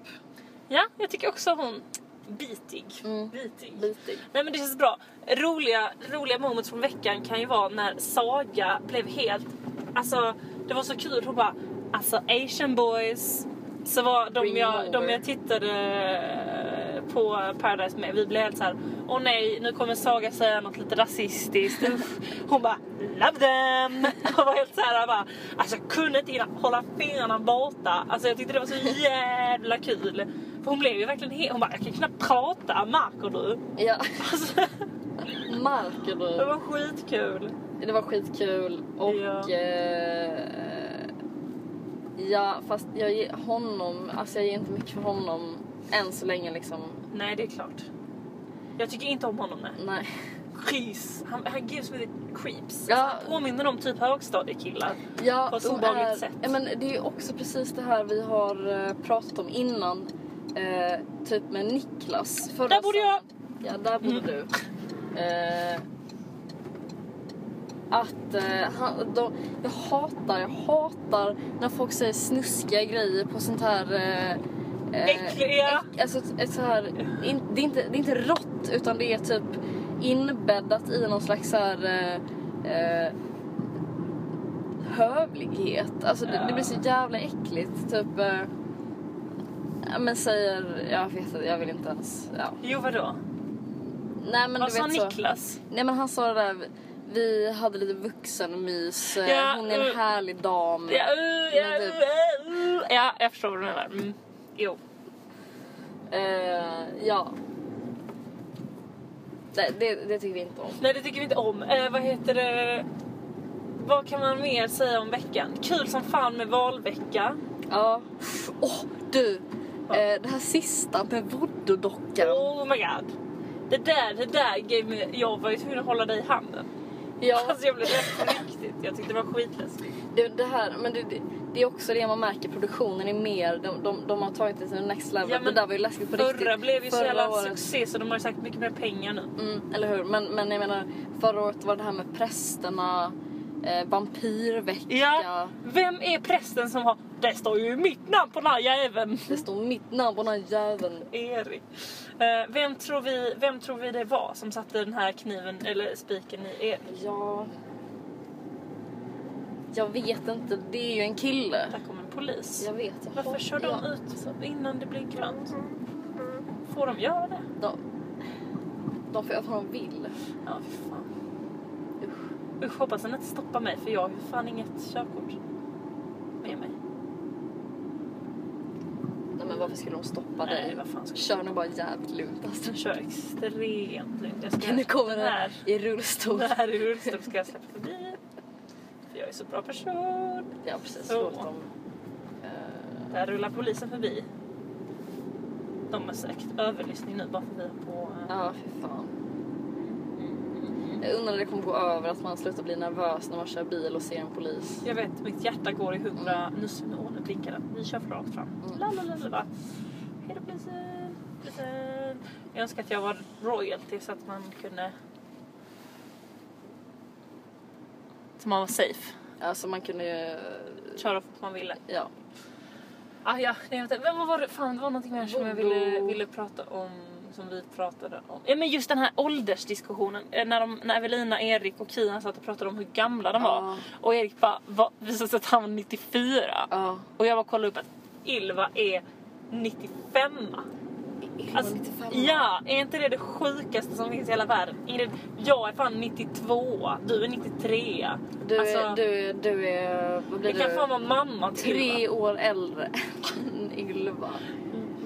[SPEAKER 2] Ja, jag tycker också hon... Bitig.
[SPEAKER 3] Mm.
[SPEAKER 2] Bitig.
[SPEAKER 3] Litig.
[SPEAKER 2] Nej men det känns bra. Roliga, roliga moments från veckan kan ju vara när Saga blev helt... Alltså det var så kul. Hon bara alltså Asian boys. Så var de
[SPEAKER 3] Bring
[SPEAKER 2] jag,
[SPEAKER 3] them
[SPEAKER 2] de
[SPEAKER 3] over.
[SPEAKER 2] jag tittade eh, på Paradise med, vi blev helt så här. åh nej nu kommer Saga säga något lite rasistiskt. Uff." Hon bara love them. Hon var helt så här, bara, alltså jag kunde inte hinna hålla fingrarna borta. Alltså jag tyckte det var så jävla kul. För hon blev ju verkligen helt, hon bara jag kan knappt prata märker du?
[SPEAKER 3] Ja,
[SPEAKER 2] Alltså,
[SPEAKER 3] Marker
[SPEAKER 2] det
[SPEAKER 3] du.
[SPEAKER 2] var skitkul.
[SPEAKER 3] Det var skitkul och
[SPEAKER 2] Ja.
[SPEAKER 3] eh, ja fast jag ger honom, alltså jag ger inte mycket för honom än så länge liksom.
[SPEAKER 2] Nej, det är klart. Jag tycker inte om honom. Nej.
[SPEAKER 3] Nej.
[SPEAKER 2] Chris. Han, han gives me the creeps.
[SPEAKER 3] Ja.
[SPEAKER 2] Alltså, han påminner om typ högstadiekillar.
[SPEAKER 3] Ja,
[SPEAKER 2] På ett
[SPEAKER 3] de
[SPEAKER 2] obehagligt
[SPEAKER 3] är-
[SPEAKER 2] sätt.
[SPEAKER 3] Ja, men det är ju också precis det här vi har eh, pratat om innan. Eh, typ med Niklas. Förra
[SPEAKER 2] Där borde jag.
[SPEAKER 3] Eh, sommaren. Ja, där borde
[SPEAKER 2] Mm.
[SPEAKER 3] du. Eh, att eh, han, de, jag hatar, jag hatar när folk säger snuskiga grejer på sånt här... Eh, eh,
[SPEAKER 2] Äckliga.
[SPEAKER 3] äck- alltså ett, ett så här, in, det, är inte, det är inte rått utan det är typ inbäddat i någon slags så här, eh, eh, hövlighet. Alltså det, det blir så jävla äckligt. Typ, eh, ja, men säger, jag vet inte, jag vill inte ens. Ja.
[SPEAKER 2] Jo, vadå?
[SPEAKER 3] Nej, men
[SPEAKER 2] Vad
[SPEAKER 3] du
[SPEAKER 2] sa
[SPEAKER 3] vet så. Mm.
[SPEAKER 2] Niklas?
[SPEAKER 3] Nej men han sa det där, vi hade lite vuxenmys, eh,
[SPEAKER 2] Ja,
[SPEAKER 3] hon är
[SPEAKER 2] eh,
[SPEAKER 3] en härlig dam.
[SPEAKER 2] Ja, uh, ja,
[SPEAKER 3] Men typ-
[SPEAKER 2] uh, uh. ja, jag förstår vad du menar. Mm. Jo.
[SPEAKER 3] Eh, ja. Nej, det, det tycker vi inte om.
[SPEAKER 2] Nej, det tycker vi inte om. Eh, vad heter det? Vad kan man mer säga om veckan? Kul som fan med valvecka.
[SPEAKER 3] Ja. Åh du! Eh, det här sista med voodoo-dockan.
[SPEAKER 2] Oh my god. Det där, det där gav mig... Jag var ju tvungen att hålla dig i handen.
[SPEAKER 3] Ja,
[SPEAKER 2] Alltså jag blev rädd på riktigt. Jag tyckte det var skitläskigt.
[SPEAKER 3] det, det här, men det, det, det är också det man märker, produktionen är mer, de, de, de har tagit det till next level.
[SPEAKER 2] Ja, men
[SPEAKER 3] det där var ju läskigt på
[SPEAKER 2] Förra
[SPEAKER 3] riktigt.
[SPEAKER 2] blev ju så
[SPEAKER 3] Förra
[SPEAKER 2] jävla
[SPEAKER 3] året.
[SPEAKER 2] succé så de har ju sagt mycket mer pengar nu.
[SPEAKER 3] Mm, eller hur? Men, men jag menar, förra året var det här med prästerna, eh, vampyrvecka.
[SPEAKER 2] Ja. Vem är prästen som har... Det står ju mitt namn på den här jäveln.
[SPEAKER 3] Det står mitt namn på den här jäveln.
[SPEAKER 2] Erik. Eh, vem, tror vi, vem tror vi det var som satte den här kniven eller spiken i Erik?
[SPEAKER 3] Ja... Jag vet inte, det är ju en kille.
[SPEAKER 2] Där kom en polis.
[SPEAKER 3] Jag vet. Jag
[SPEAKER 2] Varför
[SPEAKER 3] hatar-
[SPEAKER 2] kör de
[SPEAKER 3] ja, Mm,
[SPEAKER 2] ut så- innan det blir grönt? Får de göra det?
[SPEAKER 3] De, de får göra vad de vill.
[SPEAKER 2] Ja, fy fan.
[SPEAKER 3] Usch.
[SPEAKER 2] Usch, hoppas han inte stoppar mig för jag har ju fan inget körkort med mig.
[SPEAKER 3] Nej, men varför skulle de stoppa
[SPEAKER 2] Nej,
[SPEAKER 3] dig?
[SPEAKER 2] vad fan ska
[SPEAKER 3] Kör nu bara jävligt lugnt. Alltså.
[SPEAKER 2] jag kör extremt lugnt. Jag ska
[SPEAKER 3] Nu kommer
[SPEAKER 2] den
[SPEAKER 3] den
[SPEAKER 2] här.
[SPEAKER 3] i rullstol.
[SPEAKER 2] Den här i rullstol ska jag släppa förbi. För jag är så bra person.
[SPEAKER 3] Ja, precis.
[SPEAKER 2] Så.
[SPEAKER 3] Låt dem. Eh,
[SPEAKER 2] Där rullar polisen förbi. De har säkert överlyssning nu bara för vi har på... eh,
[SPEAKER 3] Ja, fy fan. Jag undrar när det kommer gå över att man slutar bli nervös när man kör bil och ser en polis.
[SPEAKER 2] Jag vet, mitt hjärta går i hundra. Nu, åh, nu blinkar den. Vi kör för rakt fram.
[SPEAKER 3] Mm.
[SPEAKER 2] La, la, la, la, la. Hej då polisen. polisen. Jag önskar att jag var royalty så att man kunde... Så man var safe.
[SPEAKER 3] Alltså man kunde ju...
[SPEAKER 2] Köra fort man ville.
[SPEAKER 3] Ja.
[SPEAKER 2] Ah, ja, nej, vänta. Men vad var det? Fan, det var någonting mer som jag ville,
[SPEAKER 3] Voodoo.
[SPEAKER 2] ville prata om. Som vi pratade om. Ja, men just den här åldersdiskussionen. Eh, När, de, när Evelina, Erik och Kian satt och pratade om hur gamla de var.
[SPEAKER 3] Ja.
[SPEAKER 2] Och Erik bara, va, visade sig att han var 94.
[SPEAKER 3] Ja.
[SPEAKER 2] Och jag bara kollade upp att Ylva är 95. Alltså,
[SPEAKER 3] 95.
[SPEAKER 2] ja, är inte det det sjukaste som finns i hela världen? Ingrid, jag är fan 92, du är 93.
[SPEAKER 3] Du,
[SPEAKER 2] alltså,
[SPEAKER 3] är, du, är- du är... Vad blir
[SPEAKER 2] jag kan
[SPEAKER 3] du?
[SPEAKER 2] fan vara mamma till Ylva.
[SPEAKER 3] Tre år äldre än Ylva.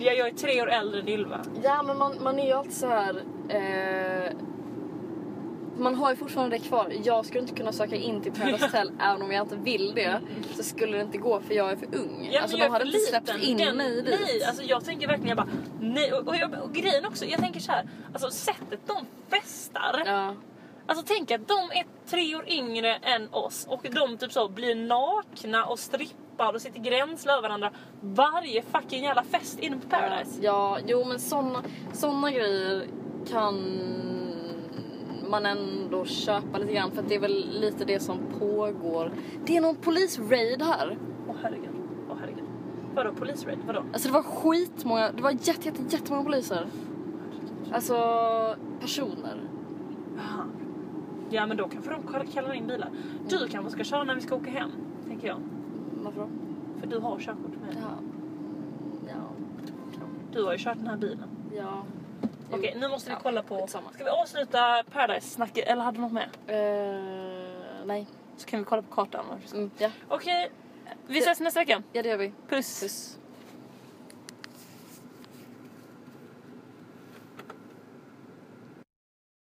[SPEAKER 2] Jag, jag är tre år äldre än Ylva.
[SPEAKER 3] Ja, men man, man är ju alltid så här... Eh, man har ju fortfarande det kvar. Jag skulle inte kunna söka in till Paradise Hotel även om jag inte vill det. Så skulle det inte gå för jag är för ung.
[SPEAKER 2] Ja,
[SPEAKER 3] alltså,
[SPEAKER 2] men jag
[SPEAKER 3] de
[SPEAKER 2] är
[SPEAKER 3] hade
[SPEAKER 2] för
[SPEAKER 3] inte släppt
[SPEAKER 2] liten.
[SPEAKER 3] in
[SPEAKER 2] Den-
[SPEAKER 3] mig dit.
[SPEAKER 2] Nej, alltså jag tänker verkligen jag bara nej. Och, och, jag, och grejen också, jag tänker så här, alltså sättet de festar.
[SPEAKER 3] Ja.
[SPEAKER 2] Alltså tänk att de är tre år yngre än oss och de typ så blir nakna och strippar och sitter gränsla över varandra varje fucking jävla fest inne på Paradise.
[SPEAKER 3] Ja, jo men såna, såna grejer kan man ändå köpa lite grann för att det är väl lite det som pågår. Det är någon polisraid här.
[SPEAKER 2] Åh herregud, åh herregud. Vadå polisraid? Vadå?
[SPEAKER 3] Alltså det var skitmånga, det var jätte, jätte, jättemånga poliser. Alltså personer.
[SPEAKER 2] Aha. Ja men då kanske de kall- kallar in bilar. Du kanske ska köra när vi ska åka hem, tänker jag.
[SPEAKER 3] Varför då?
[SPEAKER 2] För du har körkort med dig.
[SPEAKER 3] Ja. Ja.
[SPEAKER 2] Du har ju kört den här bilen.
[SPEAKER 3] ja. Jo.
[SPEAKER 2] Okej, nu måste vi
[SPEAKER 3] Ja,
[SPEAKER 2] kolla på...
[SPEAKER 3] skitsamma.
[SPEAKER 2] Ska vi avsluta Paradise-snacket eller hade du något med?
[SPEAKER 3] Eh, nej.
[SPEAKER 2] Så kan vi kolla på kartan.
[SPEAKER 3] Mm, ja.
[SPEAKER 2] Okej, vi ses nästa vecka.
[SPEAKER 3] ja, det gör vi.
[SPEAKER 2] Puss.
[SPEAKER 3] Puss.